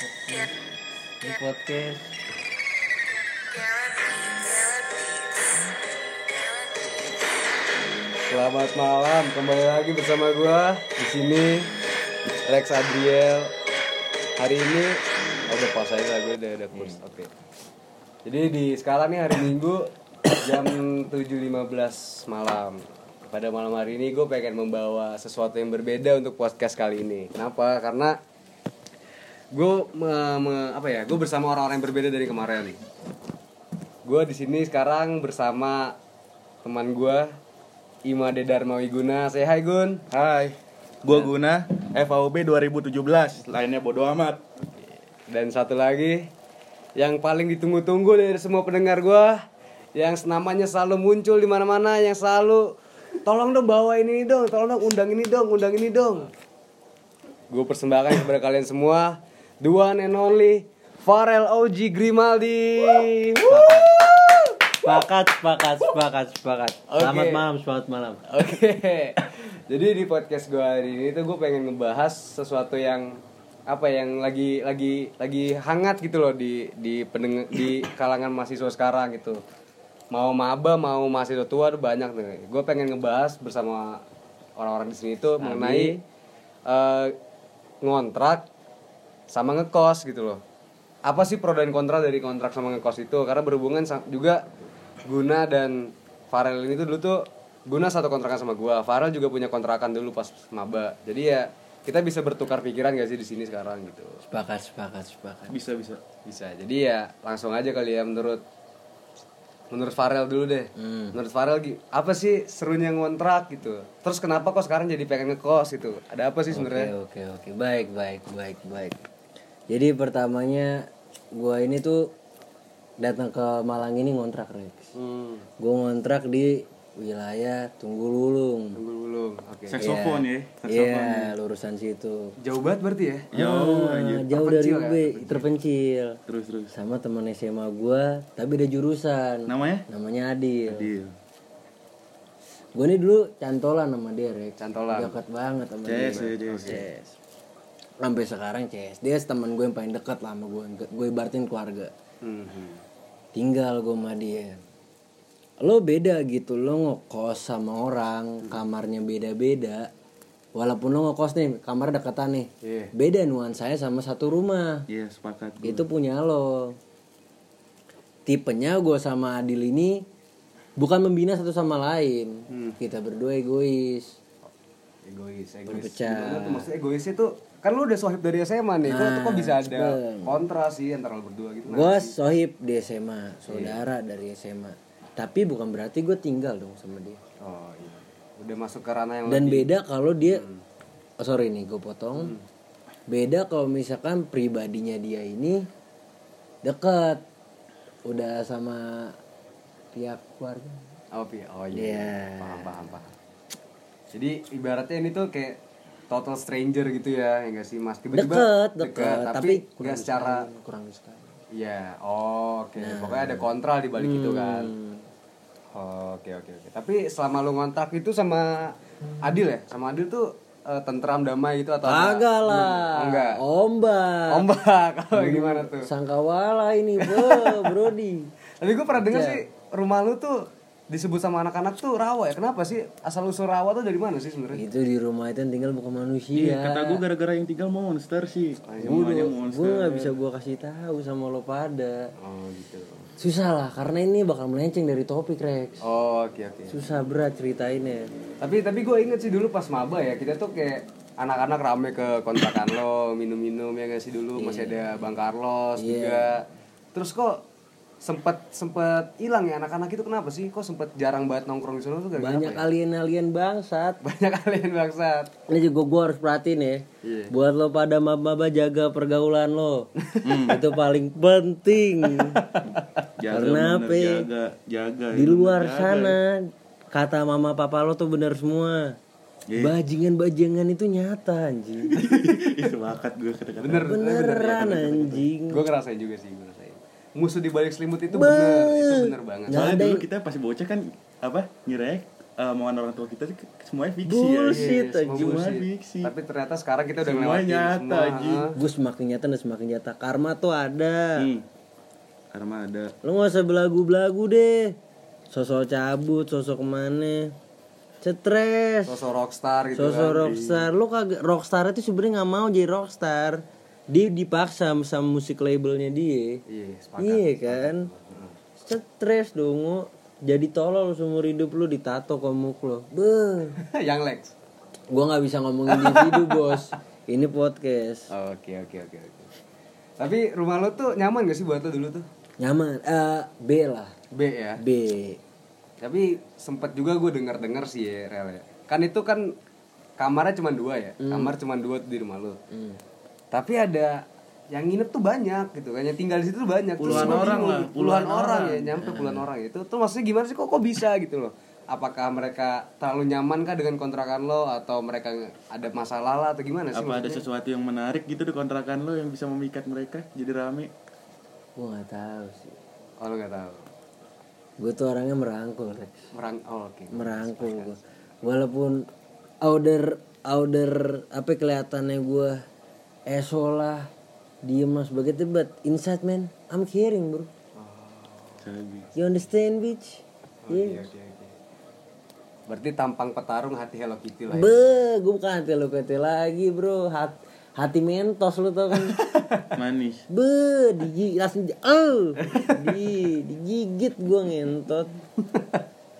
Ini podcast. Selamat malam, kembali lagi bersama gua di sini Rex Adriel. Hari ini oh, udah pas aja gue udah ada kurs. Oke. Jadi di skala nih hari Minggu jam 7.15 malam. Pada malam hari ini gue pengen membawa sesuatu yang berbeda untuk podcast kali ini. Kenapa? Karena gue me- me- apa ya? Gue bersama orang-orang yang berbeda dari kemarin. Gue di sini sekarang bersama teman gue Imade Dharma Wiguna. Say hi Gun. Hai, gua guna FAUB 2017, lainnya bodo amat. Dan satu lagi yang paling ditunggu-tunggu dari semua pendengar gua yang namanya selalu muncul di mana-mana yang selalu tolong dong bawa ini dong, tolong dong undang ini dong, undang ini dong. Gue persembahkan kepada kalian semua the one and only Farel OG Grimaldi. Wuh. Sepakat, sepakat, sepakat, sepakat. Oke. Selamat malam, selamat malam. Oke. Jadi di podcast gue hari ini tuh gue pengen ngebahas sesuatu yang apa ya, yang lagi lagi lagi hangat gitu loh di di pendeng di kalangan mahasiswa sekarang gitu. Mau maba, mau mahasiswa tua tuh banyak tuh. Gue pengen ngebahas bersama orang-orang di sini tuh mengenai eh, ngontrak sama ngekos gitu loh. Apa sih pro dan kontra dari kontrak sama ngekos itu? Karena berhubungan sa- juga Guna dan Farel ini tuh dulu tuh Guna satu kontrakan sama gua, Farel juga punya kontrakan dulu pas maba. Jadi ya kita bisa bertukar pikiran gak sih di sini sekarang gitu. Sepakat, sepakat, sepakat. Bisa bisa. Bisa. Jadi ya langsung aja kali ya menurut menurut Farel dulu deh. Hmm. Menurut Farel gi- apa sih serunya ngontrak gitu? Terus kenapa kok sekarang jadi pengen ngekos gitu? Ada apa sih Oke, sebenarnya? oke, oke. Baik, baik, baik, baik. Jadi pertamanya gua ini tuh datang ke Malang ini ngontrak, Rex. Hmm, Gua ngontrak di wilayah Tunggululung. tunggu dulu. Oke. Saksofon ya. Iya, lurusan situ. Jauh banget berarti ya? Yo, Ah, jauh dari Terpencil ya, UB, terpencil. terus terus. Sama teman SMA gua, tapi ada jurusan. Namanya? Namanya Adil. Deal. Gue ini dulu cantolan sama Derek. Cantolan. iya, Dekat banget sama CS dia. ya, CS. CS. Sampai sekarang CS. Dia teman gue yang paling dekat lah sama gue. Gue ibaratkan keluarga. Mhm. Tinggal gue sama dia. Lo beda gitu, lo ngekos sama Mhm. orang, kamarnya beda-beda. Walaupun lo ngekos nih, kamar deketan nih. Iya. Beda nuansanya sama satu rumah Iya, sepakat. gua. itu punya lo tipenya gue sama Adil ini bukan membina satu sama lain kita berdua egois Egois, egois. Berpecah. Gimana tuh maksudnya egoisnya tuh kan lu udah sohib dari SMA nih, kok, kok bisa ada kontra sih antara lu berdua gitu. gue sohib di SMA saudara dari SMA tapi bukan berarti gue tinggal dong sama dia Oh iya. Udah masuk ke ranah yang dan beda kalau dia oh, sorry nih gue potong beda kalau misalkan pribadinya dia ini dekat udah sama pihak keluarga Oh, iya. oh iya. Paham, paham, paham. Jadi ibaratnya ini tuh kayak total stranger gitu ya, ya gak sih Mas? Tiba-tiba deket deket, deket tapi, tapi, nggak secara sekali, kurang sekali Iya, oh, oke. Pokoknya ada kontra di balik itu kan. Oh, Oke, oke, oke. Tapi selama lu ngontak itu sama Adil ya? Sama Adil tuh eh, tentram damai gitu atau ada- kagak Gimana? lah Oh, enggak. Hmm. ombak Ombak. Kalau gimana tuh? sangkawala ini bro brody Tapi gue pernah dengar sih rumah lu tuh disebut sama anak-anak tuh rawa ya. Kenapa sih? Asal usul rawa tuh dari mana sih sebenarnya? itu di rumah itu yang tinggal bukan Iya, manusia kata gua gara-gara yang tinggal monster sih. Semuanya gue monster. nggak bisa gua kasih tahu sama lo pada Oh, gitu. susah lah karena ini bakal melenceng dari topik Rex Oh, oke oke. susah berat ya. ceritainnya Tapi tapi gue inget sih dulu pas maba ya, kita tuh kayak anak-anak rame ke kontrakan lo, minum-minum ya gak sih dulu masih ada Bang Carlos juga. Terus kok sempet sempet hilang ya anak-anak itu kenapa sih? Kok sempet jarang banget nongkrong di sana tuh gara-gara apa banyak ya? alien-alien bangsat banyak kalian bangsat. Ini juga gue harus perhatiin ya. Iya. Buat lo pada maba-maba jaga pergaulan lo. Itu paling penting. Jaga, bener, Karena apa? Jaga, jaga. Di luar sana kata mama papa lo tuh bener semua. Iya. Bajingan-bajingan itu nyata anjing. Ih, Iya, sepakat gua kata-kata. Bener bener. Beneran anjing. Gue ngerasain juga sih, gue ngerasain. Musuh di balik selimut itu bener, itu bener banget. Nggak Soalnya ada dulu yang- kita pas bocah kan apa? Nyirek eh, omongan orang tua kita sih ke- semuanya fiksi ya. Bullshit, Iya, anjing. Semuanya bullshit. fiksi. Tapi ternyata sekarang kita udah Semua ngelewatin nyata, anjing. heeh. Gue semakin nyata dan semakin nyata. Karma tuh ada. Hmm. Karma ada. Lo gak usah belagu-belagu deh. Sosok cabut, sosok kemana. Cetres. Sosok rockstar gitu Sosok kan. rockstar. Lo kagak rockstar itu sebenarnya nggak mau jadi rockstar. Dia dipaksa sama musik labelnya dia. Iya, sepakat. Iya kan? Stres dong. Jadi tolol seumur hidup lu ditato komuk lo. Beuh. Yang Lex. Gua nggak bisa ngomong individu, Bos. Ini podcast. Oke, oke, oke, oke. Tapi rumah lo tuh nyaman gak sih buat lo dulu tuh? Nyaman. Eh, B lah. B ya. B. Tapi sempet juga gue denger-denger sih ya, Rel ya. Kan itu kan kamarnya cuma dua ya. Kamar cuma dua tuh di rumah lo. Tapi ada yang nginep tuh banyak gitu kan yang tinggal di situ tuh banyak Terus Puluhan gua orang bingung, lah, puluhan, puluhan orang, ya orang. nyampe puluhan orang itu tuh maksudnya gimana sih kok kok bisa gitu loh apakah mereka terlalu nyaman kah dengan kontrakan lo atau mereka ada masalah lah atau gimana sih Apa ada sesuatu yang menarik gitu di kontrakan lo yang bisa memikat mereka jadi rame? Gua nggak tahu sih. oh lo nggak tahu Gue tuh orangnya merangkul, Rex. merang oh, oke merangkul gue walaupun outer outer apa kelihatannya gue esol lah diem lah sebagainya but inside man I'm caring bro Sabi. you understand bitch Oke, Iya. yeah. oke, oke. Berarti tampang petarung hati Hello Kitty lah. ya. be gue bukan hati lo kete lagi bro Hat, hati mentos lo tau kan Manis. be digigit langsung di- oh di digigit gue ngentot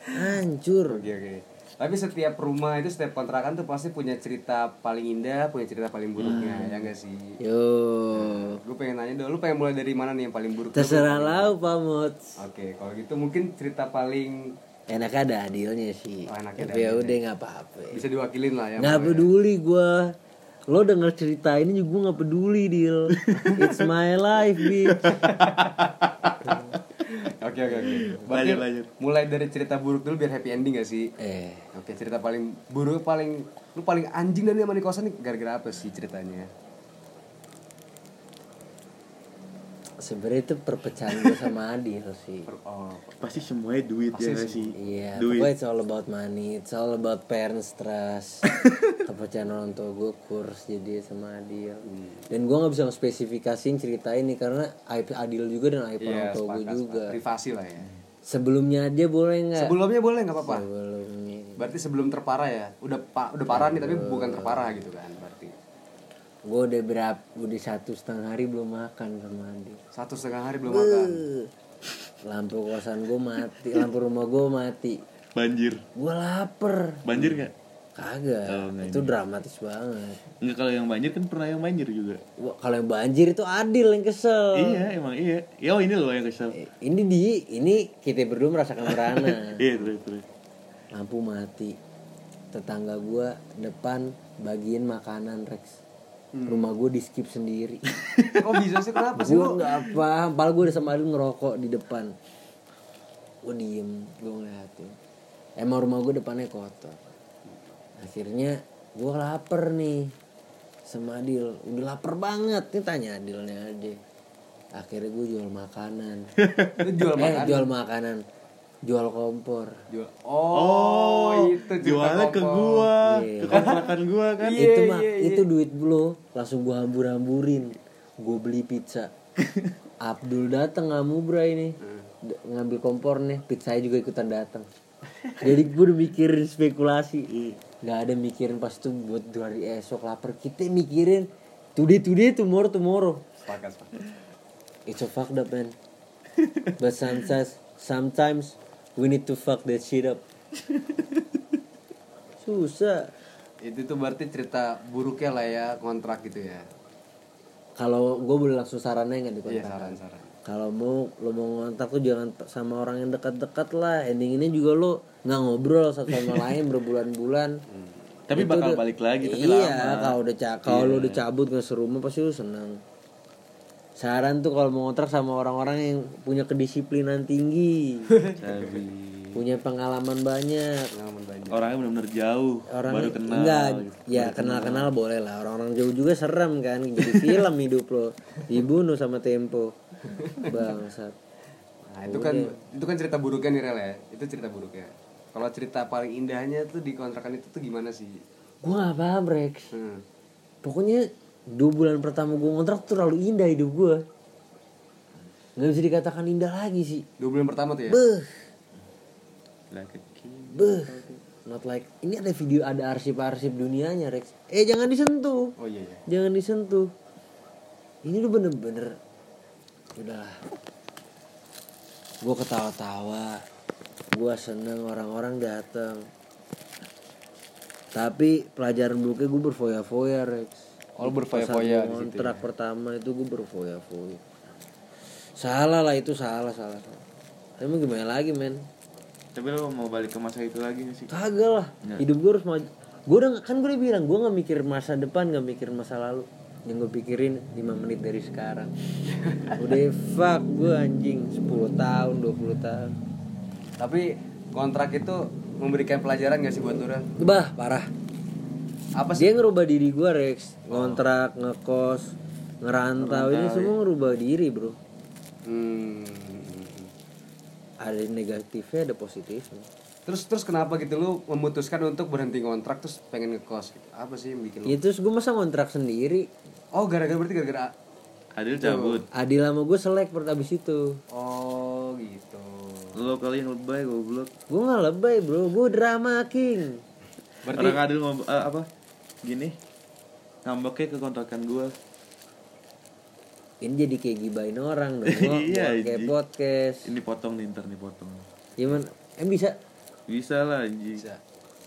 hancur Oke, oke. Tapi setiap rumah itu setiap kontrakan tuh pasti punya cerita paling indah, punya cerita paling buruknya, Hmm. ya enggak sih? yo Gue pengen nanya dong, lu pengen mulai dari mana nih yang paling buruk? terserah lau pamut Oke, kalau gitu mungkin cerita paling Enak ada adilnya sih. Oh, enaknya ada Tapi ya udah nggak apa-apa. bisa diwakilin lah ya. Nah. Nggak peduli gue. Lo denger cerita ini juga gue nggak peduli Dil It's my life bitch Eh. Oke, oke, oke. Berarti Lanjut, lanjut. mulai dari cerita buruk dulu biar happy ending gak sih? Eh Oke, cerita paling buruk paling lu paling anjing dan sama di kosan nih gara-gara apa sih ceritanya? sebenarnya itu perpecahan gue sama Adil sih Per- Oh, Pasti semuanya duit ya nggak sih? Iya Duit. Pokoknya it's all about money It's all about parents trust Kepercayaan orang tua gue kurs jadi sama Adil Hmm. Dan gue nggak bisa spesifikasiin cerita ini Karena aib Adil juga dan aib Iya, orang tua gue sepakat, juga sepakat. Privasi lah ya. Sebelumnya aja boleh nggak? Sebelumnya boleh nggak apa-apa. Sebelumnya Berarti sebelum terparah ya. Udah pa- udah parah nih tapi bukan terparah gitu kan berarti. gue udah berapa udah satu setengah hari belum makan sama Andi Satu setengah hari belum makan. lampu kosan gue mati lampu rumah gue mati Banjir. gue lapar Banjir nggak? kagak Oh, itu dramatis banget Nggak kalau yang banjir kan pernah yang banjir juga. Wah, kalau yang banjir itu adil yang kesel Iya emang iya. Ya oh, ini loh yang kesel. Eh, ini di ini kita berdua merasakan merana Iya terus terus. lampu mati tetangga gue depan bagiin makanan Rex rumah gue di skip sendiri Kok bisa sih kenapa sih gue lu? nggak apa padahal gue udah sama Adil ngerokok di depan gue diem gue ngeliatin emang rumah gue depannya kotor akhirnya gue lapar nih sama Adil udah lapar banget nih tanya Adilnya aja akhirnya gue jual makanan Lu jual eh makanan. jual makanan jual kompor Jual. Oh, itu cerita Jualnya ke kompor. gua, Iya. ke kontrakan gua kan. Iya, itu mah iya, itu duit lo langsung gue hambur-hamburin gue beli pizza Abdul datang ngamubra ini D- ngambil kompor nih pizza juga ikutan datang jadi gue udah mikirin spekulasi nggak ada mikirin pas itu buat dua hari esok lapar kita mikirin today today tomorrow tomorrow Sepakat, sepakat. it's a fucked up man but sometimes sometimes we need to fuck that shit up susah Itu tuh berarti cerita buruknya lah ya kontrak gitu ya. kalau gue boleh langsung sarannya nggak di Iya, kontak saran-saran. kalau mau lo mau ngontak tuh jangan t- sama orang yang dekat-dekat lah ending ini juga lo nggak ngobrol satu sama lain berbulan-bulan Tapi Itu bakal udah- balik lagi Gitu, tapi lama. iya Iya. kalau udah ca- kalau lo udah cabut nggak serumah pasti lo seneng saran tuh kalau mau ngontrak sama orang-orang yang punya kedisiplinan tinggi Sabi. punya pengalaman banyak Pengalaman banyak. Orangnya benar-benar jauh. orang baru kenal. enggak ya kenal kenal boleh lah orang-orang jauh juga serem kan jadi film hidup lo dibunuh sama tempo bangsat Nah, itu kan itu kan cerita buruknya nih Rel ya. Itu cerita buruknya. Kalau cerita paling indahnya tuh di kontrakan itu tuh gimana sih? gue gak paham Rex Hmm. pokoknya dua bulan pertama gue ngontrak tuh terlalu indah hidup gue nggak bisa dikatakan indah lagi sih Dua bulan pertama tuh ya? beh Like a king. beh not like ini ada video ada arsip-arsip dunianya Rex eh jangan disentuh Oh iya iya. jangan disentuh ini udah bener-bener udahlah gue ketawa-tawa gue seneng orang-orang datang tapi pelajaran buku gue berfoya-foya Rex Oh, lu berfoya-foya Pas di situ ya? kontrak pertama itu gue berfoya-foya salah lah itu salah salah, salah. tapi mau gimana lagi men Tapi lo mau balik ke masa itu lagi gak sih? kagak lah Ya. hidup gue harus maju gue udah kan gue udah bilang gue nggak mikir masa depan nggak mikir masa lalu yang gue pikirin 5 menit dari sekarang udah fuck gue anjing 10 tahun 20 tahun Tapi kontrak itu memberikan pelajaran gak sih buat Nurul? bah parah Apa sih? Oh. dia ngerubah diri gue Rex ngontrak ngekos ngerantau iya. ini semua ngerubah diri bro Hmm. ada negatifnya ada positifnya Terus terus kenapa gitu lu memutuskan untuk berhenti kontrak terus pengen ngekos? Gitu? Apa sih yang bikin lu? ya terus gue masa ngontrak sendiri Oh gara-gara berarti gara-gara Adil cabut. Adil sama gue selek per abis itu Oh gitu. Lo kali yang lebay goblok. gue nggak lebay bro gue drama king Berarti Orang Adil mau eh, apa? Gini. Ngambeknya ke kontrakan gua. ini jadi kayak gibain orang dong gua, Iya, buat kayak anjing. podcast Ini potong nih ntar nih potong. gimana em bisa Bisa lah anjing. bisa.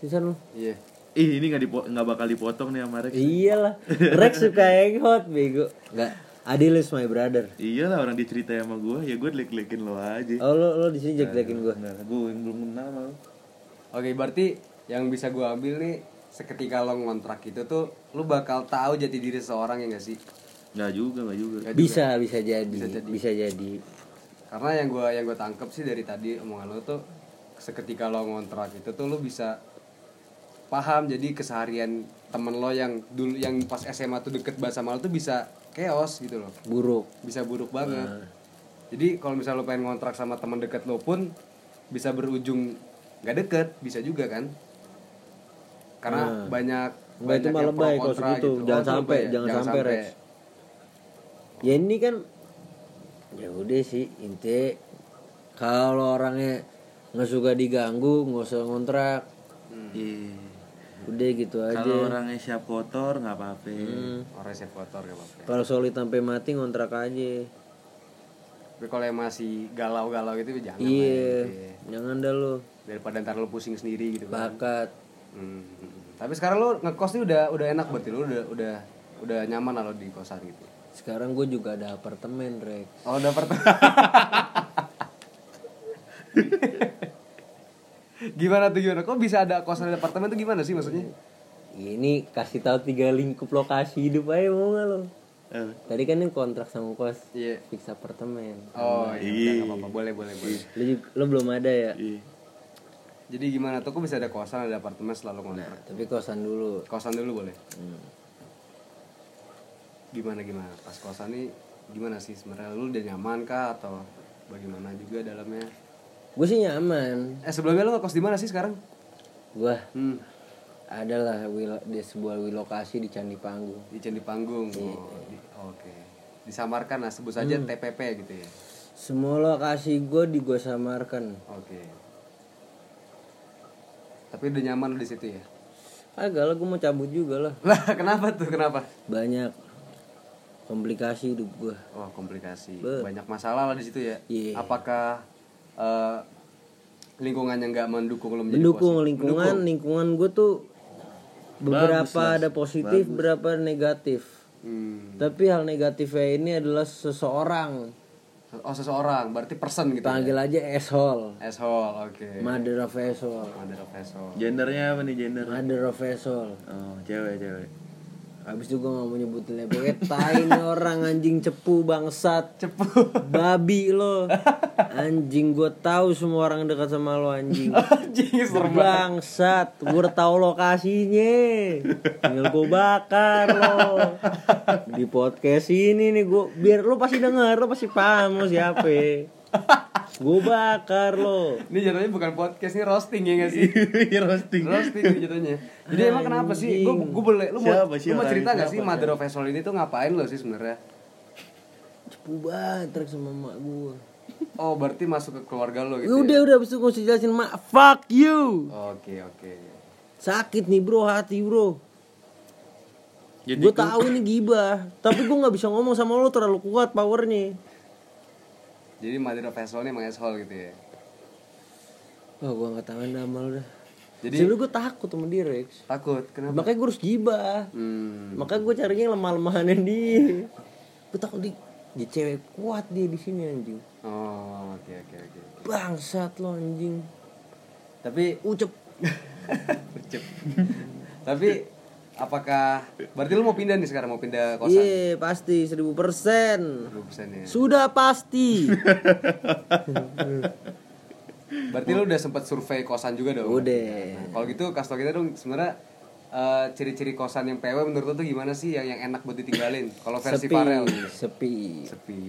bisa lu Iya. Ih, ini nggak dipo- nggak bakal dipotong nih sama Iya. Rex. iyalah Rex suka hangout bego nggak Adil is my brother Iya lah orang diceritain sama gua, ya gua delek-delekin lo aja. oh lo lo di sini jelek-jelekin gue Nah, gua yang belum kenal sama lo. Oke, berarti yang bisa gua ambil nih seketika lo ngontrak itu tuh lu bakal tahu jati diri seorang ya gak sih? Nggak juga, nggak juga. Iya. bisa bisa jadi bisa jadi. jadi, Karena yang gua yang gua tangkep sih dari tadi omongan lo tuh seketika lo ngontrak itu tuh lu bisa paham jadi keseharian temen lo yang dulu yang pas SMA tuh deket banget sama lo tuh bisa chaos gitu loh. buruk Bisa buruk banget. Nah. Jadi kalau misalnya lo pengen ngontrak sama teman deket lo pun bisa berujung nggak deket, bisa juga kan? Karena banyak Nggak, Nah. itu banyak malah yang pro baik kalau kontra segitu. gitu. Jangan itu sampai, lebay ya? jangan sampai, Rex. ya ini kan ya udah sih inti kalau orangnya nggak suka diganggu nggak usah ngontrak Iya. udah gitu aja Kalau orangnya siap kotor nggak apa-apa. Hmm? Orang siap Oh, kotor gak apa-apa. kalau solid sampai mati ngontrak aja Tapi kalau yang masih galau-galau gitu jangan. lah, Iya, gitu ya. jangan dah lo Daripada ntar lo pusing sendiri gitu. kan. bakat. Hmm. Tapi sekarang lo ngekos nih udah udah enak berarti lo udah udah udah nyaman lah lo di kosan gitu. Sekarang gue juga ada apartemen, Rex. Oh udah pertama. gimana tuh gimana? Kok bisa ada kosan dan apartemen tuh gimana sih maksudnya? Ya, Ini kasih tahu tiga lingkup lokasi hidup aja mau nggak lo? Eh, Tadi kan yang kontrak sama kos, Iya. fix apartemen. Oh iya. udah, nggak apa-apa. Boleh boleh boleh. Lo, ju- lo belum ada ya? iya. Jadi gimana tuh? Kok bisa ada kosan ada apartemen selalu ngontrak? Nah, Tapi kosan dulu. Kosan dulu boleh. Hmm. Gimana gimana? Pas kosan nih gimana sih sebenarnya? Lu udah nyaman kah atau bagaimana juga dalamnya? Gue sih nyaman. Eh sebelumnya lu ngekos di mana sih sekarang? Gue Hmm. adalah wil- di sebuah lokasi di Candi Panggung. Di Candi Panggung. Iya. Oh, di- Oke. Disamarkan lah sebut saja Hmm. TPP gitu ya. Semua lokasi gue di gue samarkan. Oke. Tapi udah nyaman lu di situ ya? Agak lah gue mau cabut juga lah. Lah, kenapa tuh? Kenapa? Banyak komplikasi hidup gue. Wah, Oh, komplikasi. Be. Banyak masalah lah di situ ya. Iya. Apakah eh, lingkungan yang nggak mendukung lu menjadi mendukung pos- lingkungan lingkungan gue tuh beberapa ada positif beberapa negatif Hmm. tapi hal negatifnya ini adalah seseorang Oh, seseorang, berarti person gitu. panggil aja asshole Asshole, oke. mother of asshole Mother of asshole. Gendernya apa nih gender? mother of asshole Oh, cewek, cewek. habis itu gue gak mau nyebutin lah pokoknya tai nih orang anjing cepu bangsat Cepu. babi lo anjing gue tahu semua orang dekat sama lo anjing Anjing, serem banget. Bangsat, gue udah tahu lokasinya. Tinggal gue bakar lo. Di podcast ini nih gue biar lo pasti denger, lo pasti paham lo siapa. Gue bakar lo. Ini jatuhnya bukan podcast, ini roasting ya gak sih? Iya, roasting. roasting ini jatuhnya. Jadi emang kenapa sih? Gue gue boleh lu mau, Siapa sih lu mau orang cerita ini? gak sih Siapa? Mother of Asshole ini tuh ngapain lo sih sebenarnya? Cepu banget trek sama emak gue. Oh, berarti masuk ke keluarga lo gitu. ya? Udah udah besok gue usah jelasin mak. Fuck you. Oke, oke. Sakit nih bro hati bro. Gue tahu ini gibah, tapi gue nggak bisa ngomong sama lo terlalu kuat powernya. Jadi Mother of Asshole ini emang asshole gitu ya. Oh, Wah gue nggak tahan sama lo dah. Jadi Jadi- gue takut sama dia Rex. Takut, kenapa? Makanya gue harus gibah. Hmm. Makanya gue carinya yang lemah-lemahannya dia. gue takut di, di cewek kuat dia di sini anjing. Oh, oke oke oke. Bangsat lo anjing. Tapi Ucep. Ucep. Tapi apakah berarti lu mau pindah nih sekarang mau pindah kosan? ya. Iya pasti seribu persen. Lu kosannya. Sudah pasti. Berarti lu udah sempat survei kosan juga dong? Udah. Nah, kalau gitu kasih tau kita dong sebenarnya eh, ciri-ciri kosan yang PW menurut lu tuh gimana sih yang yang enak buat ditinggalin? Kalau versi sepi, Farel sepi. sepi.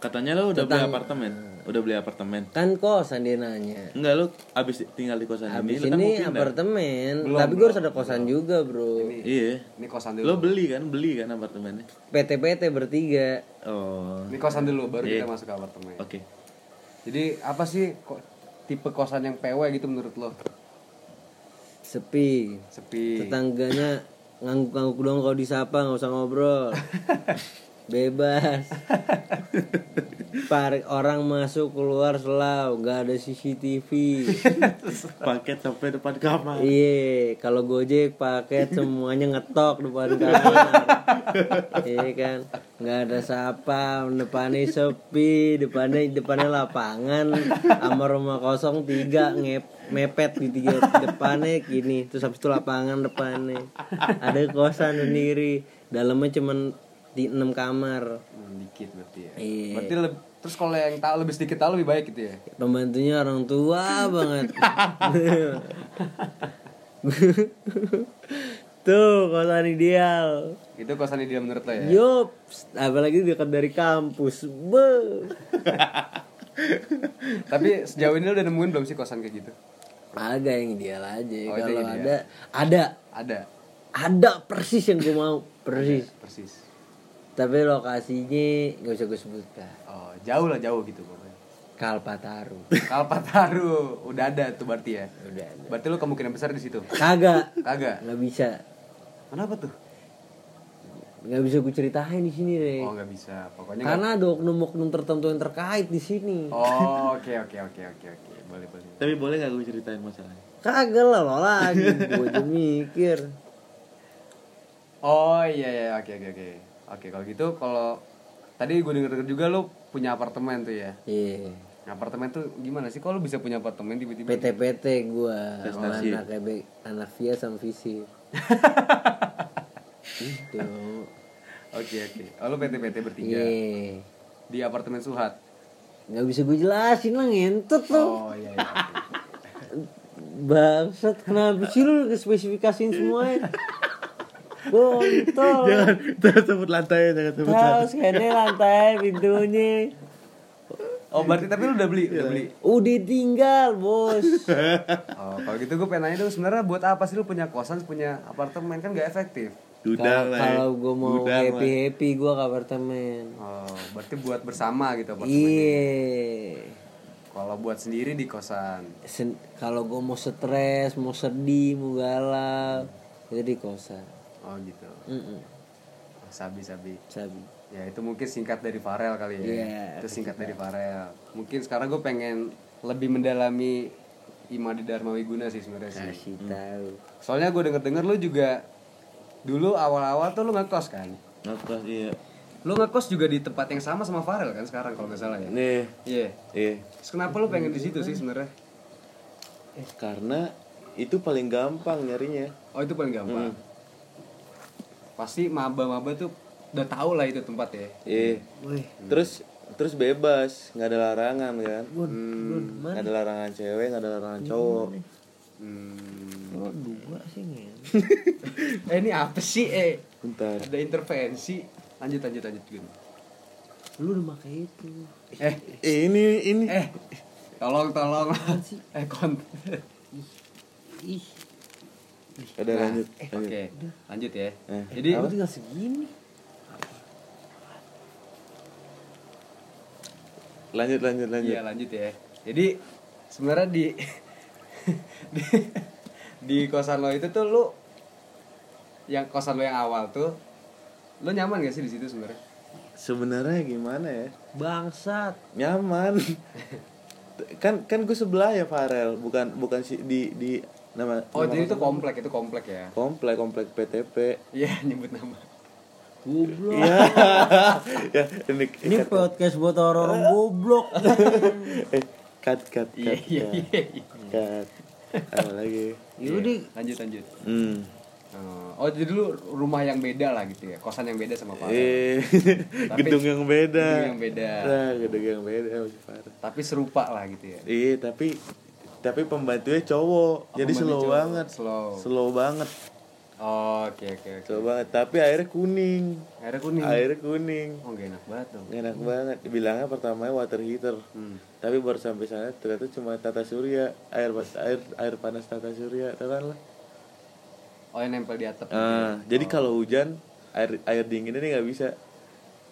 Katanya lo udah beli apartemen. Udah beli apartemen. Kan kosan dia nanya. Enggak lo abis tinggal di kosan Habis ini, lo kan mau ini pindah. apartemen, Belum, tapi gue harus ada kosan juga, Bro. Ini, Iya. ini kosan Lo dulu. beli kan, beli kan apartemennya. PT-PT bertiga. Oh. Ini kosan dulu baru kita Iya. masuk ke apartemen. Oke. Jadi apa sih kok tipe kosan yang PW gitu menurut lo? Sepi. Sepi. Tetangganya ngangguk-ngangguk doang kalau disapa, nggak usah ngobrol. Bebas. Par orang masuk keluar selalu, nggak ada CCTV. Paket sampai depan kamar. Iya, kalau Gojek paket semuanya ngetok depan kamar. Iya kan, nggak ada siapa, depannya sepi, depannya depannya lapangan, sama rumah kosong tiga ngep mepet di tiga depannya gini, terus habis itu lapangan depannya, ada kosan sendiri, dalamnya cuman di enam kamar, Hmm, dikit berarti ya. Iya. Berarti leb- terus kalau yang tahu lebih sedikit tahu lebih baik gitu ya. pembantunya orang tua banget. Tuh kosan ideal. Itu kosan dia menurut lo ya. Yup, apalagi dekat dari kampus. Be. Tapi sejauh ini lo udah nemuin belum sih kosan kayak gitu? Agak yang ideal aja. Oh, itu Kalau ideal. ada, ada, Ada. ada persis yang gue mau, persis. Persis. Tapi lokasinya gak usah gue sebutkan. Oh, jauh lah jauh gitu pokoknya. Kalpataru. Kalpataru udah ada tuh berarti ya. Udah ada. Berarti lo kemungkinan besar di situ. Kagak, Kagak. nggak bisa, Kenapa tuh? nggak bisa gue ceritain di sini deh. Oh, nggak bisa. Pokoknya nggak- Karena ada oknum-oknum tertentu yang terkait di sini. Oh, oke oke oke oke oke. Boleh boleh. Tapi boleh gak gue ceritain masalahnya? Kagak lah lo lagi, gue aja mikir. Oh, iya iya oke oke oke. Oke, kalau gitu kalau tadi gue denger-denger juga lo punya apartemen tuh ya. Iya. Apartemen tuh gimana sih? Kok lo bisa punya apartemen tiba-tiba? PT-PT gue Prestasi. anak kayak anak via sama visi Gitu. itu Oke oke. Oh, lo PT-PT bertiga iya di apartemen Suhat. nggak bisa gue jelasin lah ngentot lo Oh iya. iya. bangsat kenapa sih lu spesifikasiin semuanya kontol Jangan, jangan sebut lantainya, jangan sebut lantai. terus kayaknya lantai pintunya Oh berarti tapi lu udah beli, udah beli. udah tinggal bos Oh kalau gitu gue pengen nanya dong sebenarnya buat apa sih lu punya kosan, punya apartemen kan gak efektif. Duda kalau lah. kalau gue mau Duda lah. happy happy gue ke apartemen Oh berarti buat bersama gitu apartemennya. iya Kalau buat sendiri di kosan. Sen- kalau gue mau stres, mau sedih, mau galau, itu di kosan. Oh gitu. Mm-mm, Sabi sabi. sabi. Ya itu mungkin singkat dari Farel kali ya. Iya, itu singkat dari Farel. Mungkin sekarang gue pengen lebih mendalami Imadi Dharma Wiguna sih sebenarnya sih. Kasih tahu. Soalnya gue denger-denger lu juga dulu awal-awal tuh lu ngekos kan? Ngekos, iya. Lu ngekos juga di tempat yang sama sama Farel kan sekarang kalau nggak salah ya? Iya. Nih, iya. Terus kenapa lu pengen di situ sih sebenarnya? Eh, karena itu paling gampang nyarinya. Oh itu paling gampang. Pasti maba-maba tuh udah tau lah itu tempat ya. Iya. Terus terus bebas, nggak ada larangan kan? Nggak ada larangan cewek, nggak ada larangan cowok. Hmm. Oh, dua sih ngen. Eh ini apa sih eh? Bentar. Ada intervensi. Lanjut lanjut lanjut gitu. lu udah pakai itu eh Ini ini. eh tolong tolong eh kont ih Udah lanjut. oke lanjut. Eh, lanjut ya Eh, jadi lu tinggal segini Lanjut lanjut lanjut. Iya lanjut ya. Jadi sebenarnya di, di di kosan lo itu tuh lu yang kosan lo yang awal tuh lo nyaman gak sih di situ sebenarnya? Sebenarnya gimana ya? bangsat Nyaman. kan kan gue sebelah ya Farel, bukan bukan si di di nama Oh nama jadi itu komplek itu komplek ya? komplek komplek PTP. Iya nyebut nama. goblok Iya. ya, ini ini cut, cut. podcast buat orang goblok Eh, cut cut cut. Iya iya cut. iya. iya. Cut. ya. Apa lagi? yaudah Lanjut lanjut. Hmm. Oh, Oh jadi lu rumah yang beda lah gitu ya? Kosan yang beda sama Pak. Eh, Tapi- gedung yang beda. gedung yang beda. Nah, gedung yang beda masih parah. Tapi serupa lah gitu ya. Iya, tapi tapi pembantunya cowok. Oh, jadi pembantu slow cowok. banget. Slow. Slow banget. Oh, Oke oke oke. Slow banget, tapi airnya kuning. Akhirnya kuning. Airnya kuning. Oh gak enak banget dong. Nggak Enak banget. Bilangnya pertamanya water heater. Hmm. Tapi baru sampai sana ternyata cuma tata surya, air air air panas tata surya, teman lah. Oh yang nempel di atap. gitu ya? Ah, jadi kalau hujan air air dingin ini nggak bisa.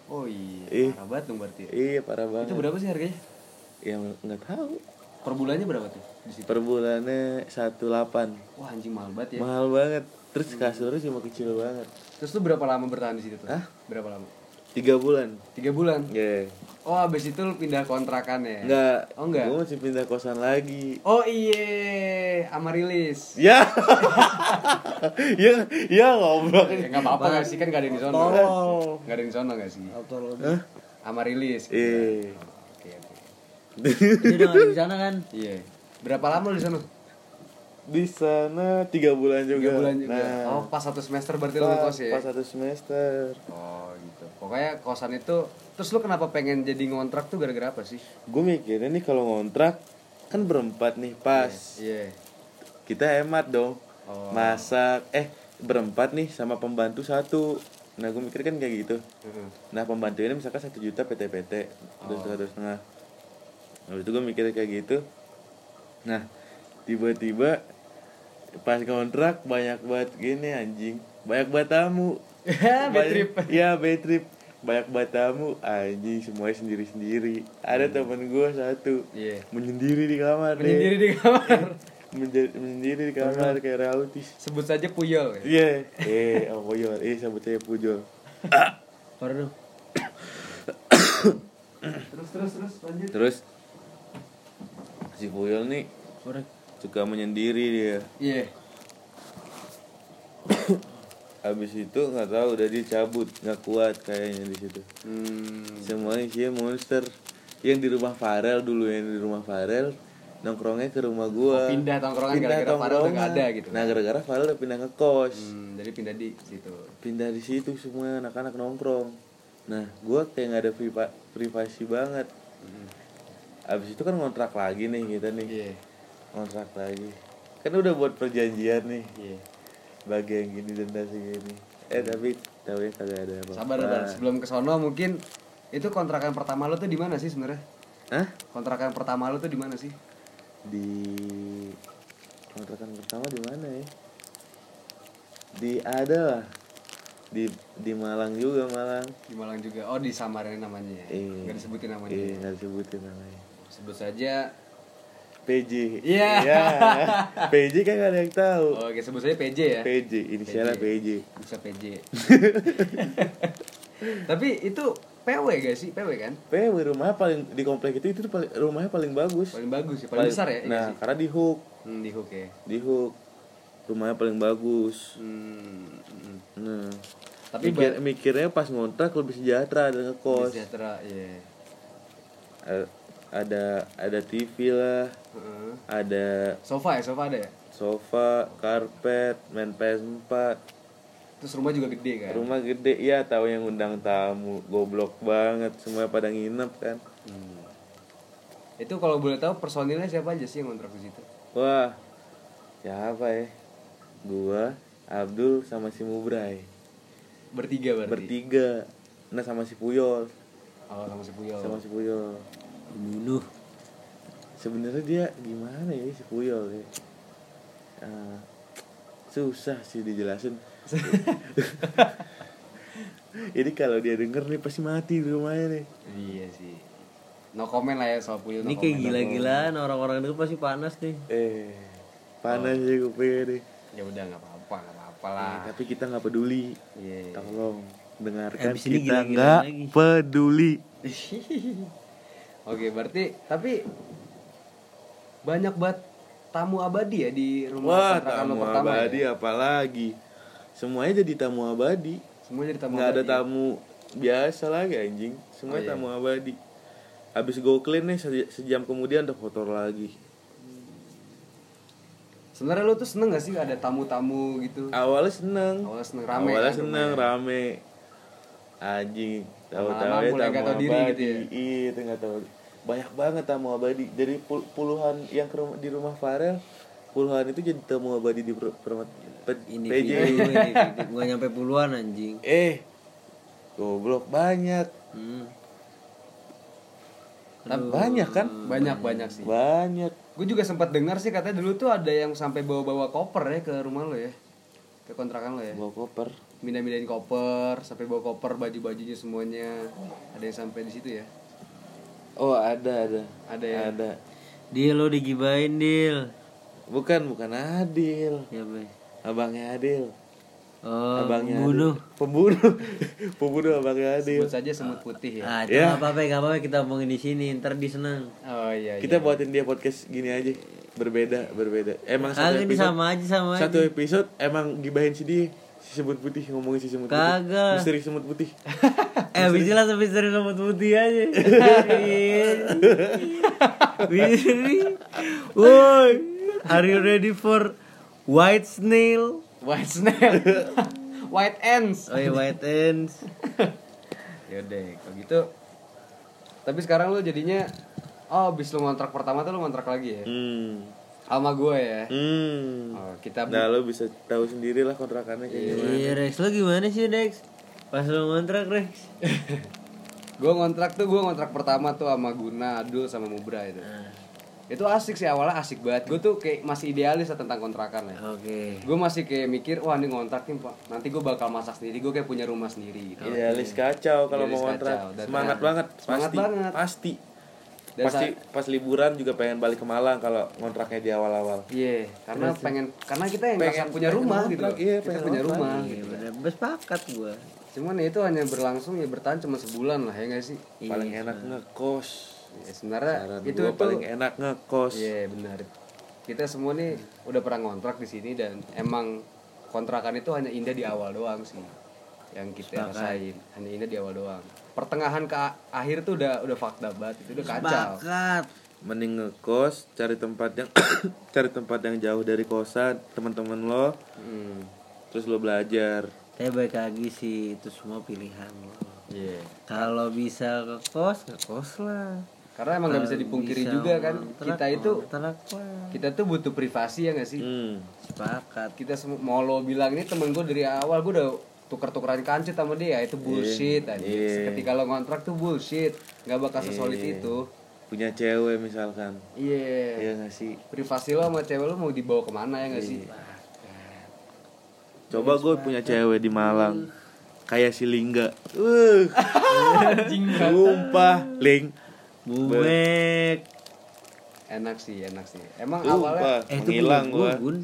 Oh iya, Ih. parah banget dong berarti. ya. Iya, parah Itu banget. berapa sih harganya? Ya nggak tahu. Per bulannya berapa tuh di situ? Per bulannya 18. Wah anjing mahal banget ya. Mahal banget. Terus Hmm. kasurnya cuma kecil banget. Terus tuh berapa lama bertahan di situ tuh? Hah? Berapa lama? Tiga bulan. Tiga bulan. Ya. Oh abis itu lu pindah kontrakan ya? Enggak. Oh enggak. Gue masih pindah kosan lagi. Oh iya, Amarilis. Ya. ya, ya ngobrol. Ya nggak apa-apa nggak sih kan nggak ada yang di sono. Tolol. Nggak ada yang di sono nggak sih? atau lebih Hah? Amarilis. gitu. Eh. Oke oke. itu udah nggak ada di sana kan Iya. Berapa lama lu di sono? Di sana tiga bulan juga. Tiga bulan juga. Nah, Oh pas satu semester berarti lu pas, ngekos ya? pas satu semester. Oh gitu. Pokoknya kosan itu terus lu kenapa pengen jadi ngontrak tuh gara-gara apa sih? Gue mikirnya nih kalau ngontrak kan berempat nih pas. Iya. Kita hemat dong. Oh. Masak. Eh berempat nih sama pembantu satu. Nah gue mikir kan kayak gitu. Heeh. Nah pembantu ini misalkan satu juta PT-PT Oh. terus satu setengah. Lalu itu gue mikir kayak gitu. Nah tiba-tiba pas kontrak banyak banget gini anjing, banyak banget tamu. Ya, bad trip. Iya bad trip. Banyak banget tamu anjing semuanya sendiri sendiri. Ada temen gue satu Iya. menyendiri di kamar. deh. Menyendiri di kamar. Menja- menyendiri di kamar kayak rautis. Sebut saja puyol. ya? Iya, eh, oh, puyol, eh, sambut saya pujol. Pardon. Terus terus terus lanjut. Terus si Puyol nih korek suka menyendiri dia. Iya. Habis itu nggak tahu udah dicabut, nggak kuat kayaknya di situ. Hmm. Semuanya isinya monster. Yang di rumah Farel dulu yang di rumah Farel nongkrongnya ke rumah gua. Oh, pindah tongkrongan gara-gara Farel udah nggak ada gitu. Nah, gara-gara Farel udah pindah ke kos. Hmm, jadi pindah di situ. Pindah di situ semua anak-anak nongkrong. Nah, gua kayak nggak ada priva- privasi banget. Abis itu kan ngontrak lagi nih kita nih. Iya. kontrak lagi kan udah buat perjanjian nih Iya. bagi yang gini denda segini eh tapi tahu ya kagak ada apa Sabar sabar. Sebelum ke sono mungkin itu kontrakan pertama lu tuh di mana sih sebenarnya? Hah? Kontrakan pertama lu tuh di mana sih? di kontrakan pertama di mana ya di ada lah di di Malang juga Malang Di Malang juga. Oh, di Samarinda namanya. ya? Iya. Nggak disebutin namanya. eh nggak disebutin namanya Sebut saja PJ Iya. Iya. PJ kan gak ada yang tahu Oh, Oke, sebut saja PJ ya. PJ inisialnya PJ Bisa PJ. Tapi itu PW gak sih? PW kan? PW rumahnya paling di komplek itu itu tuh paling, rumahnya paling bagus Paling bagus sih, paling, besar ya. iya nah sih? karena di hook Hmm, di hook ya. di hook rumahnya paling bagus Hmm, hmm. nah Tapi Mikir- mikirnya pas ngontrak lebih sejahtera ada Lebih ngekos sejahtera, iya. A- ada ada TV lah Heeh. ada Sofa ya, sofa ada ya? sofa karpet main PS4 Terus rumah juga gede kan? rumah gede ya tahu yang undang tamu goblok banget semua pada nginep kan Hmm. Itu kalau boleh tahu personilnya siapa aja sih yang kontrak di situ? wah siapa ya gua Abdul sama si Mubrai Bertiga berarti. bertiga nah sama si Puyol Oh, sama si Puyol. sama si Puyol Bunuh. sebenarnya dia gimana ya si Puyol ya Eh, susah sih dijelasin ini kalau dia denger nih pasti mati di rumahnya nih Iya sih. No comment lah ya soal Puyol. no Ini kayak comment. gila-gilaan orang-orang itu pasti panas nih. eh panas Oh. ya gue nih Ya udah nggak apa-apa, nggak apa-apa lah. Eh, tapi kita nggak peduli Iya. tolong dengarkan Abis ini kita gila-gilaan nggak lagi. peduli Iya. Oke, berarti tapi banyak banget tamu abadi ya di rumah wah kontrakan lo tamu pertama ya? abadi apalagi semuanya jadi tamu abadi Semua jadi tamu nggak ada abadi. ya? tamu biasa lagi anjing Oh, semua iya. tamu abadi abis go clean nih se- sejam kemudian udah kotor lagi Sebenarnya lo tuh seneng gak sih ada tamu-tamu gitu? awalnya seneng Awalnya seneng, rame awalnya kan seneng rumahnya. rame anjing tahu-tahu Lama-lama ya mulai nggak tamu tahu diri abadi gitu ya? iya itu nggak tahu banyak banget tamu abadi dari pul- puluhan yang ke rumah- di rumah Farel puluhan itu jadi tamu abadi di per- per- pe- Ini PJ video, ini video. Gua nyampe puluhan anjing. eh goblok banyak Hmm. banyak kan Banyak-banyak sih. banyak Gue juga sempat dengar sih katanya dulu tuh ada yang sampai bawa-bawa koper ya ke rumah lo ya. Ke kontrakan lo ya. bawa koper Mindah-mindahin koper, sampai bawa koper, baju-bajunya semuanya. Ada yang sampai di situ ya. Oh ada ada Ada ya? ada Dia lo digibain, Dil. bukan bukan Adil Ya, Be. abangnya Adil Oh, abangnya bunuh. Adil. pembunuh pembunuh abangnya Adil Sebut saja semut putih ya. Ah, itu nggak apa-apa, nggak apa-apa kita omongin di sini, ntar dia seneng. Oh iya. kita buatin dia podcast gini aja berbeda berbeda emang satu Kagak ini episode sama aja sama aja. Eh, satu episode emang gibahin si dia si semut putih ngomongin si semut putih Kagak. misteri semut putih Eh, bisa lah sampai sering rambut putih aja. Biri. Woi, are you ready for white snail? White snail. White ants. Oh, iya, white ants. Yaudah, kalau gitu. Tapi sekarang lo jadinya Oh, abis lo ngontrak pertama tuh lo ngontrak lagi ya? hmm Sama gue ya? hmm Oh, kita nah lo bisa tahu sendiri lah kontrakannya kayak gimana Iya, Rex, lo gimana sih, Rex? Pas lo ngontrak, Rex. Gue ngontrak tuh, gue ngontrak pertama tuh sama Guna, Adul, sama Mubra itu Nah, Itu asik sih, awalnya asik banget Gue tuh kayak masih idealis lah tentang kontrakan ya Oke. Gue masih kayak mikir, wah ini ngontrak nih Pak Nanti gue bakal masak sendiri, gue kayak punya rumah sendiri gitu Idealis Iya, kacau kalau Idealis mau Iya, kacau, kontrak. dan- Semangat banget, Semangat pasti, banget. pasti. Dan pasti pas liburan juga pengen balik ke Malang kalau kontraknya di awal-awal. Iya, karena pengen, karena kita yang Pengen- pengen, punya pengen rumah ngontrak, gitu loh. iya, Kita pengen punya ngontrak, rumah Iya, gitu. bener. Bersepakat gua. Cuman ya itu hanya berlangsung ya bertahan cuma sebulan lah ya gak sih? Paling enak ngekos. Ya, sebenarnya Saran itu gua itu paling enak ngekos. Iya benar. Kita semua nih udah pernah ngontrak di sini dan emang kontrakan itu hanya indah di awal doang sih yang kita rasain hanya indah di awal doang pertengahan ke a- akhir tuh udah udah fucked up banget itu udah kacau Sepakat. Mending ngekos, cari tempat yang cari tempat yang jauh dari kosan, teman-teman lo, Hmm, terus lo belajar. Tapi baik lagi sih itu semua pilihan lo. iya. Kalau bisa ke kos, ke kos lah. karena emang nggak bisa Kalau dipungkiri bisa juga kan ngontrak, kita itu ngontrak lah. kita tuh butuh privasi ya gak sih Hmm. Sepakat. kita semua mau lo bilang ini temen gue dari awal gue udah tuker-tukeran kancit sama dia Ya, itu bullshit aja Iya. ketika lo ngontrak tuh bullshit nggak bakal sesolid Iya. itu Punya cewek misalkan. iya Iya nggak sih? privasi lo sama cewek lo mau dibawa kemana ya nggak sih Coba gue punya Iya. cewek di Malang. Kayak si Lingga. Uh. Sumpah, Ling. Bumek. enak sih enak sih emang awalnya Sumpah, Eh, itu menghilang gue. gua. Gun.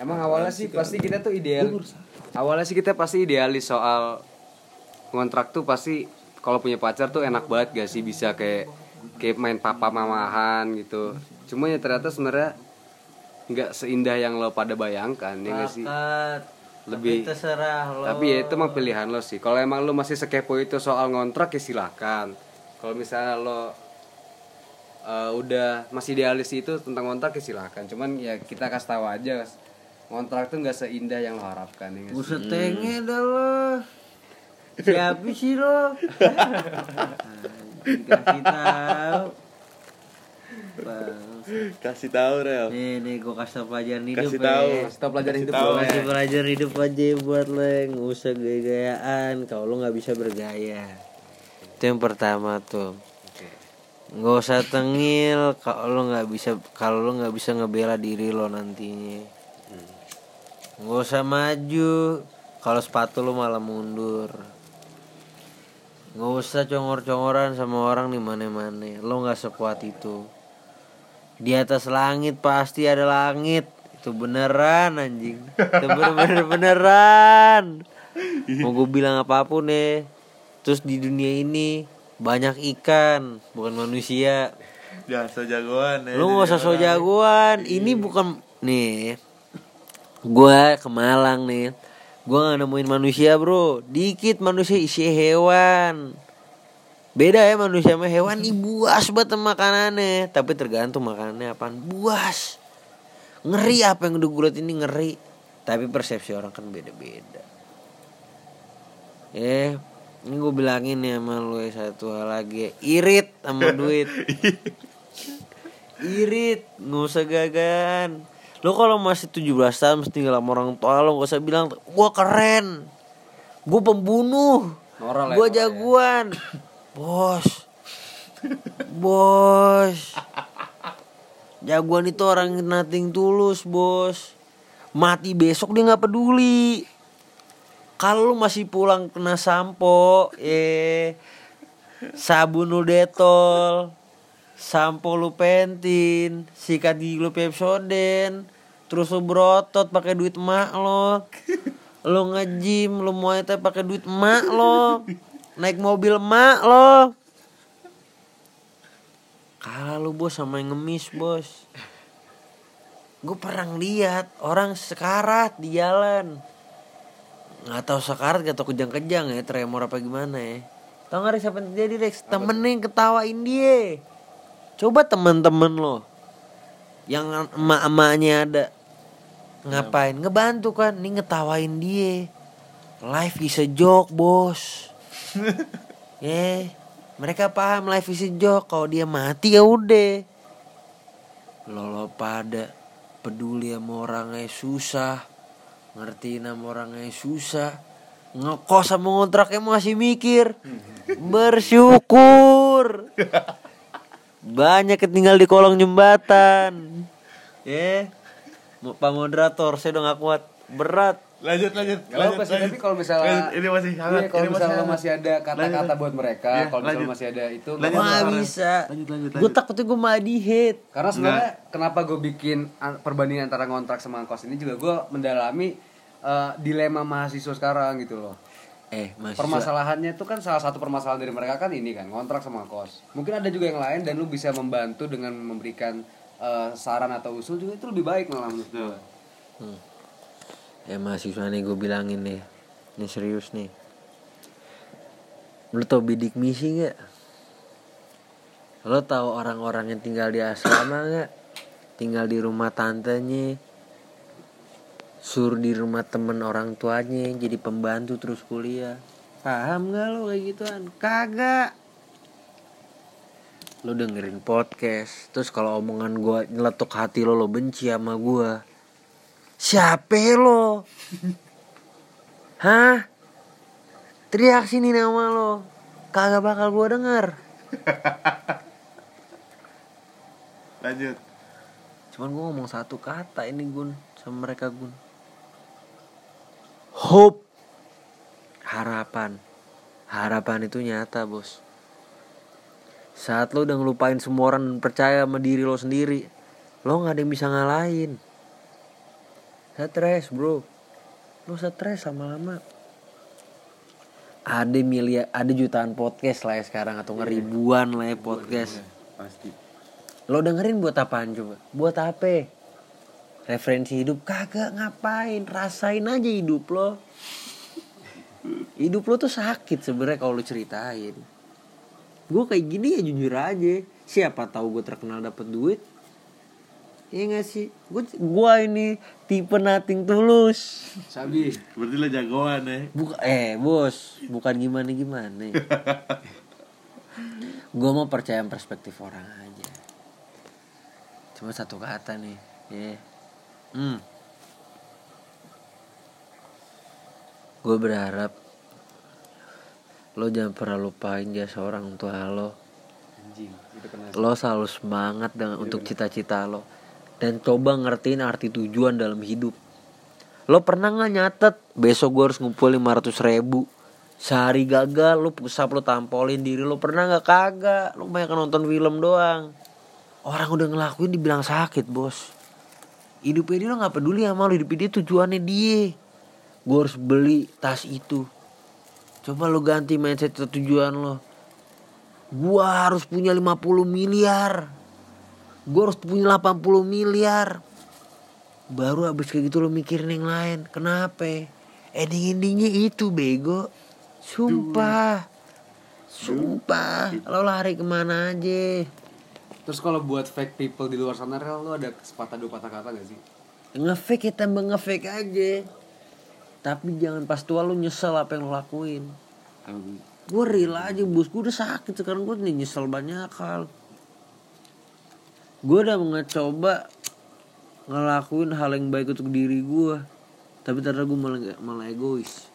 emang awalnya sih pasti kita tuh ideal awalnya sih kita pasti idealis soal kontrak tuh pasti kalau punya pacar tuh enak banget gak sih bisa kayak kayak main papa mamahan gitu cuma ya ternyata sebenarnya nggak seindah yang lo pada bayangkan ya Ah, nggak sih Sepakat. Lebih- Tapi terserah lo. Tapi ya itu mah pilihan lo sih. Kalau emang lo masih sekepo itu soal ngontrak ya silakan. Kalau misalnya lo eh, udah masih idealis itu tentang ngontrak ya silakan. Cuman ya kita kasih tahu aja ngontrak tuh nggak seindah yang lo harapkan ya. nggak sih? Buset tenge dah lo. Siapa sih lo? Nah, Dikasih tahu. Bang. Kasih tahu Rel. Nih nih gue kasih tau pelajaran hidup Kasih ya. tahu. Kasih tau pelajaran hidup tahu, lo. ya. Masih belajar ya hidup aja buat lo yang nggak usah gaya-gayaan kalau lo nggak bisa bergaya. itu yang pertama tuh nggak usah tengil kalau lo nggak bisa kalau lo nggak bisa ngebela diri lo nantinya nggak usah maju kalau sepatu lo malah mundur nggak usah congor-congoran sama orang di mana-mana lo nggak sekuat itu di atas langit pasti ada langit itu beneran anjing itu bener-bener beneran mau gue bilang apapun deh terus di dunia ini banyak ikan bukan manusia Jangan so jagoan ya. lu nggak usah so jagoan ini bukan nih gua ke Malang nih gua nggak nemuin manusia bro dikit manusia isi hewan beda ya manusia sama hewan nih buas banget sama makanannya tapi tergantung makanannya apaan buas ngeri apa yang udah gue liat ini ngeri tapi persepsi orang kan beda-beda eh ini gue bilangin ya sama lu ya, satu hal lagi ya. irit sama duit irit nggak usah gagan lo kalau masih 17 tahun mesti tinggal sama orang tua lo gak usah bilang gua keren gua pembunuh Moral ya, gua moral ya. jagoan bos bos jagoan itu orang nothing tulus bos mati besok dia nggak peduli kalau lu masih pulang kena sampo eh sabun lu detol sampo lu pentin sikat gigi lu pepsoden terus lu berotot pakai duit emak lo lu ngejim lu mau itu pakai duit emak lo naik mobil emak lo kalah lu bos sama yang ngemis bos gue pernah lihat orang sekarat di jalan nggak tahu sekarat gak tahu kejang-kejang ya tremor apa gimana ya tau nggak Rex apa yang terjadi Rex temen yang ketawain dia coba temen-temen lo yang emak-emaknya ada ngapain ngebantu kan nih ngetawain dia life is a joke bos eh mereka paham life is a joke kalau dia mati ya udah lo lo pada peduli sama orangnya susah ngertiin sama orangnya susah ngekos sama ngontraknya masih mikir bersyukur banyak ketinggal di kolong jembatan ya mau pak moderator saya udah gak kuat berat Lanjut lanjut. Gak apa-apa sih, tapi kalau misalnya Lanjut, ini masih hangat. Iya, kalau ini misalnya hangat. masih ada kata-kata Lanjut. buat mereka, Iya, kalau misalnya lanjut. masih ada itu gak Lanjut, apa-apa. Wah Ren. bisa Lanjut, lanjut, gue lanjut. takutnya gue mah di hate Karena sebenarnya kenapa gue bikin an- perbandingan antara kontrak sama kos ini juga gue mendalami eh, dilema mahasiswa sekarang gitu loh. eh Iya. mas Permasalahannya itu kan salah satu permasalahan dari mereka kan ini kan kontrak sama kos. Mungkin ada juga yang lain dan lu bisa membantu dengan memberikan eh, saran atau usul juga itu lebih baik malah menurut gue. Eh mahasiswa nih gue bilangin nih Ini serius nih Lu tau bidik misi gak? Lo tau orang-orang yang tinggal di asrama gak? Tinggal di rumah tantenya Sur di rumah temen orang tuanya Jadi pembantu terus kuliah Paham gak lo kayak gituan? Kagak Lo dengerin podcast Terus kalau omongan gue nyeletuk hati lo Lo benci sama gue Siapa lo? Hah? Teriak sini nama lo. Kagak bakal gua denger. Lanjut. Cuman gua ngomong satu kata ini Gun sama mereka Gun. Hope. Harapan. Harapan itu nyata, Bos. Saat lo udah ngelupain semua orang dan percaya sama diri lo sendiri, lo nggak ada yang bisa ngalahin. Stres, bro. Lo stres lama-lama. Ada miliar, ada jutaan podcast lah ya sekarang atau nggak ribuan lah ya podcast. Pasti. Lo dengerin buat apaan coba? Buat apa? Referensi hidup kagak ngapain? Rasain aja hidup lo. Hidup lo tuh sakit sebenarnya kalau lo ceritain. Gue kayak gini ya jujur aja. Siapa tahu gue terkenal dapet duit? Iya gak sih? Gue gua ini tipe nating tulus. Sabi, Berarti lo jagoan ya. Buka, eh bos, bukan gimana gimana. gue mau percaya perspektif orang aja. Cuma satu kata nih, ya. Hmm. Gue berharap lo jangan pernah lupain jasa orang tua lo anjing itu kena lo selalu semangat dengan untuk cita-cita lo dan coba ngertiin arti tujuan dalam hidup lo pernah nggak nyatet besok gue harus ngumpul 500 ribu sehari gagal lo pusap lo tampolin diri lo pernah nggak kagak lo banyak nonton film doang orang udah ngelakuin dibilang sakit bos hidupnya dia lo nggak peduli sama lo hidupnya dia tujuannya dia gue harus beli tas itu coba lo ganti mindset tujuan lo gua harus punya 50 miliar gua harus punya 80 miliar baru abis kayak gitu lo mikirin yang lain kenapa ending endingnya itu bego sumpah sumpah lo lari kemana aja terus kalau buat fake people di luar sana rel lu ada sepatah dua patah kata gak sih ngefake ya tambah ngefake aja tapi jangan pas tua lo nyesel apa yang lo lakuin gue rela aja bos gue udah sakit sekarang gue nih nyesel banyak hal gue udah mencoba ngelakuin hal yang baik untuk diri gue tapi ternyata gue malah, malah egois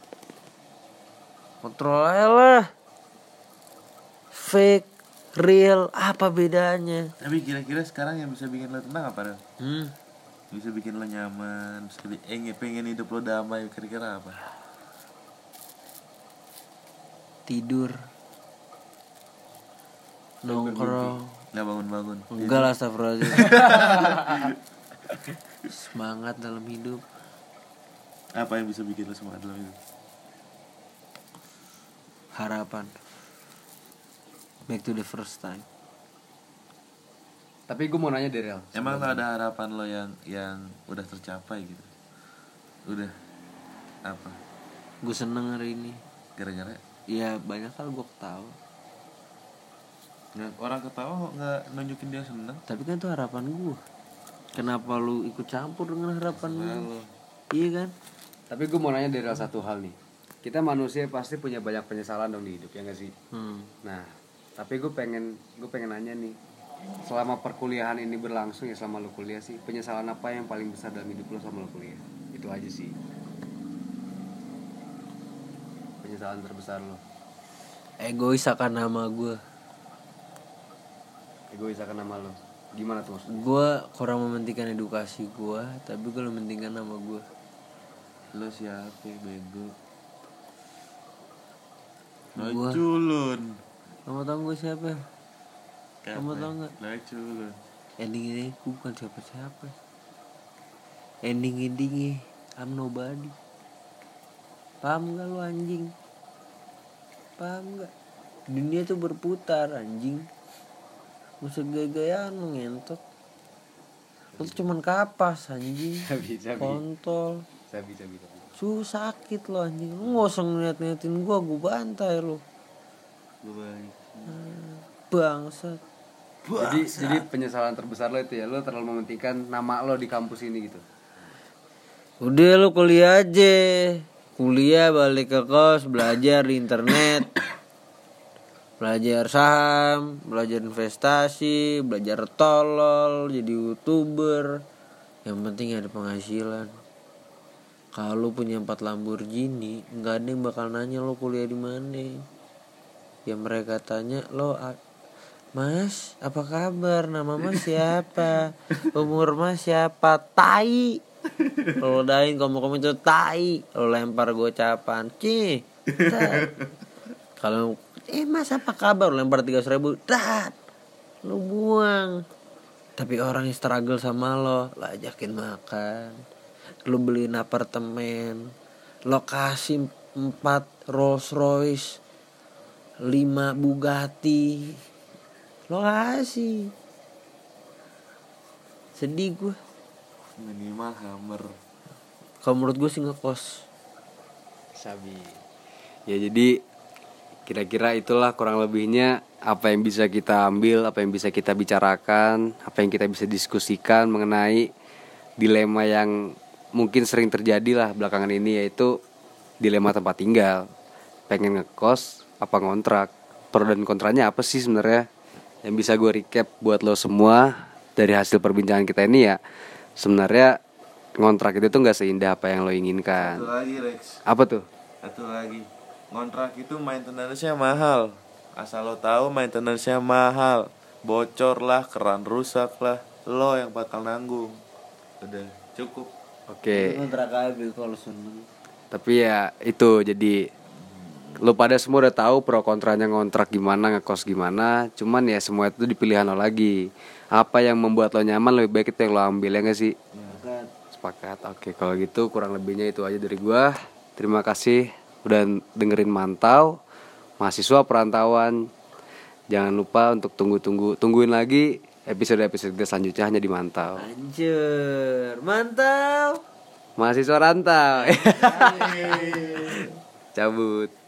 kontrol aja lah fake real apa bedanya Tapi kira-kira sekarang yang bisa bikin lo tenang apa, Rel? hmm. Yang Bisa bikin lo nyaman, bisa bi- eh, nge- pengen hidup lo damai, kira-kira apa? tidur nongkrong Nggak bangun-bangun. Enggak lah astagfirullahaladzim Semangat dalam hidup Apa yang bisa bikin lo gitu? semangat dalam hidup? Harapan Back to the first time tapi gue mau nanya deh rel Emang lo ada harapan lo yang yang udah tercapai gitu? Udah apa? Gue seneng hari ini Gara-gara Ya banyak hal gue tahu nggak- orang ketawa kok nggak nunjukin dia seneng? Tapi kan itu harapan gue Kenapa lu ikut campur dengan harapan lu Iya kan tapi gue mau nanya deh rel satu hal nih kita manusia pasti punya banyak penyesalan dong di hidup ya gak sih hmm. Nah, tapi gue pengen gue pengen nanya nih, selama perkuliahan ini berlangsung ya selama lu kuliah sih, penyesalan apa yang paling besar dalam hidup lu selama lu kuliah? Itu aja sih. Penyesalan terbesar lo. Egois akan nama gue Egois akan nama lo. Gimana tuh maksudnya? Gue kurang mementingkan edukasi gue Tapi gue mementingkan nama gue Lo siapa bego? Lo Gua- culun. Kamu tau gue siapa? Kamu Kapan? tau gak? Lo culun. ending ini gue bukan siapa-siapa ending endingnya I'm nobody paham gak lu anjing paham gak dunia tuh berputar anjing musuh gaya-gayaan lu ngentot lu tuh cuman kapas anjing Sabi, sabi. Oh. kontol Sabi, sabi, sabi. su sakit lo anjing lu gak usah ngeliat-ngeliatin gua gua bantai lu Gue balik. bangsat Jadi, jadi penyesalan terbesar lo itu ya, lo terlalu mementingkan nama lo di kampus ini gitu. Udah lu kuliah aja Kuliah balik ke kos Belajar di internet Belajar saham Belajar investasi Belajar tolol Jadi youtuber Yang penting ada penghasilan Kalau lu punya empat Lamborghini nggak ada yang bakal nanya lo kuliah di mana Ya mereka tanya Lo a- Mas, apa kabar? Nama mas siapa? Umur mas siapa? Tai lo dain komen-komen itu tai lo lempar gocapan cih tat. kalau eh mas apa kabar lo lempar tiga ribu tat lo buang tapi orang yang struggle sama lo lo ajakin makan lo beliin apartemen lo kasih empat Rolls Royce lima Bugatti lo kasih sedih gue Minimal hammer. kalau menurut gue sih ngekos Sabi. Ya jadi kira-kira itulah kurang lebihnya apa yang bisa kita ambil, apa yang bisa kita bicarakan, apa yang kita bisa diskusikan mengenai dilema yang mungkin sering terjadi lah belakangan ini yaitu dilema tempat tinggal. Pengen ngekos apa ngontrak? Pro dan kontranya apa sih sebenarnya? Yang bisa gue recap buat lo semua dari hasil perbincangan kita ini ya sebenarnya ngontrak itu tuh nggak seindah apa yang lo inginkan. Satu lagi Rex. Apa tuh? Satu lagi. ngontrak itu maintenance-nya mahal. Asal lo tahu maintenance-nya mahal. Bocor lah, keran rusak lah. Lo yang bakal nanggung. Udah cukup. Oke. Kontrak abil kalau seneng. Tapi ya itu jadi lu pada semua udah tahu pro kontranya ngontrak gimana, ngekos gimana. Cuman ya semua itu dipilihan lo lagi. Apa yang membuat lo nyaman lebih baik itu yang lo ambil ya gak sih? Sepakat. Sepakat. Oke, kalau gitu kurang lebihnya itu aja dari gua. Terima kasih udah dengerin mantau. Mahasiswa perantauan. Jangan lupa untuk tunggu-tunggu tungguin lagi episode-episode kita selanjutnya hanya di mantau. Anjir, mantap. Mahasiswa rantau. Cabut.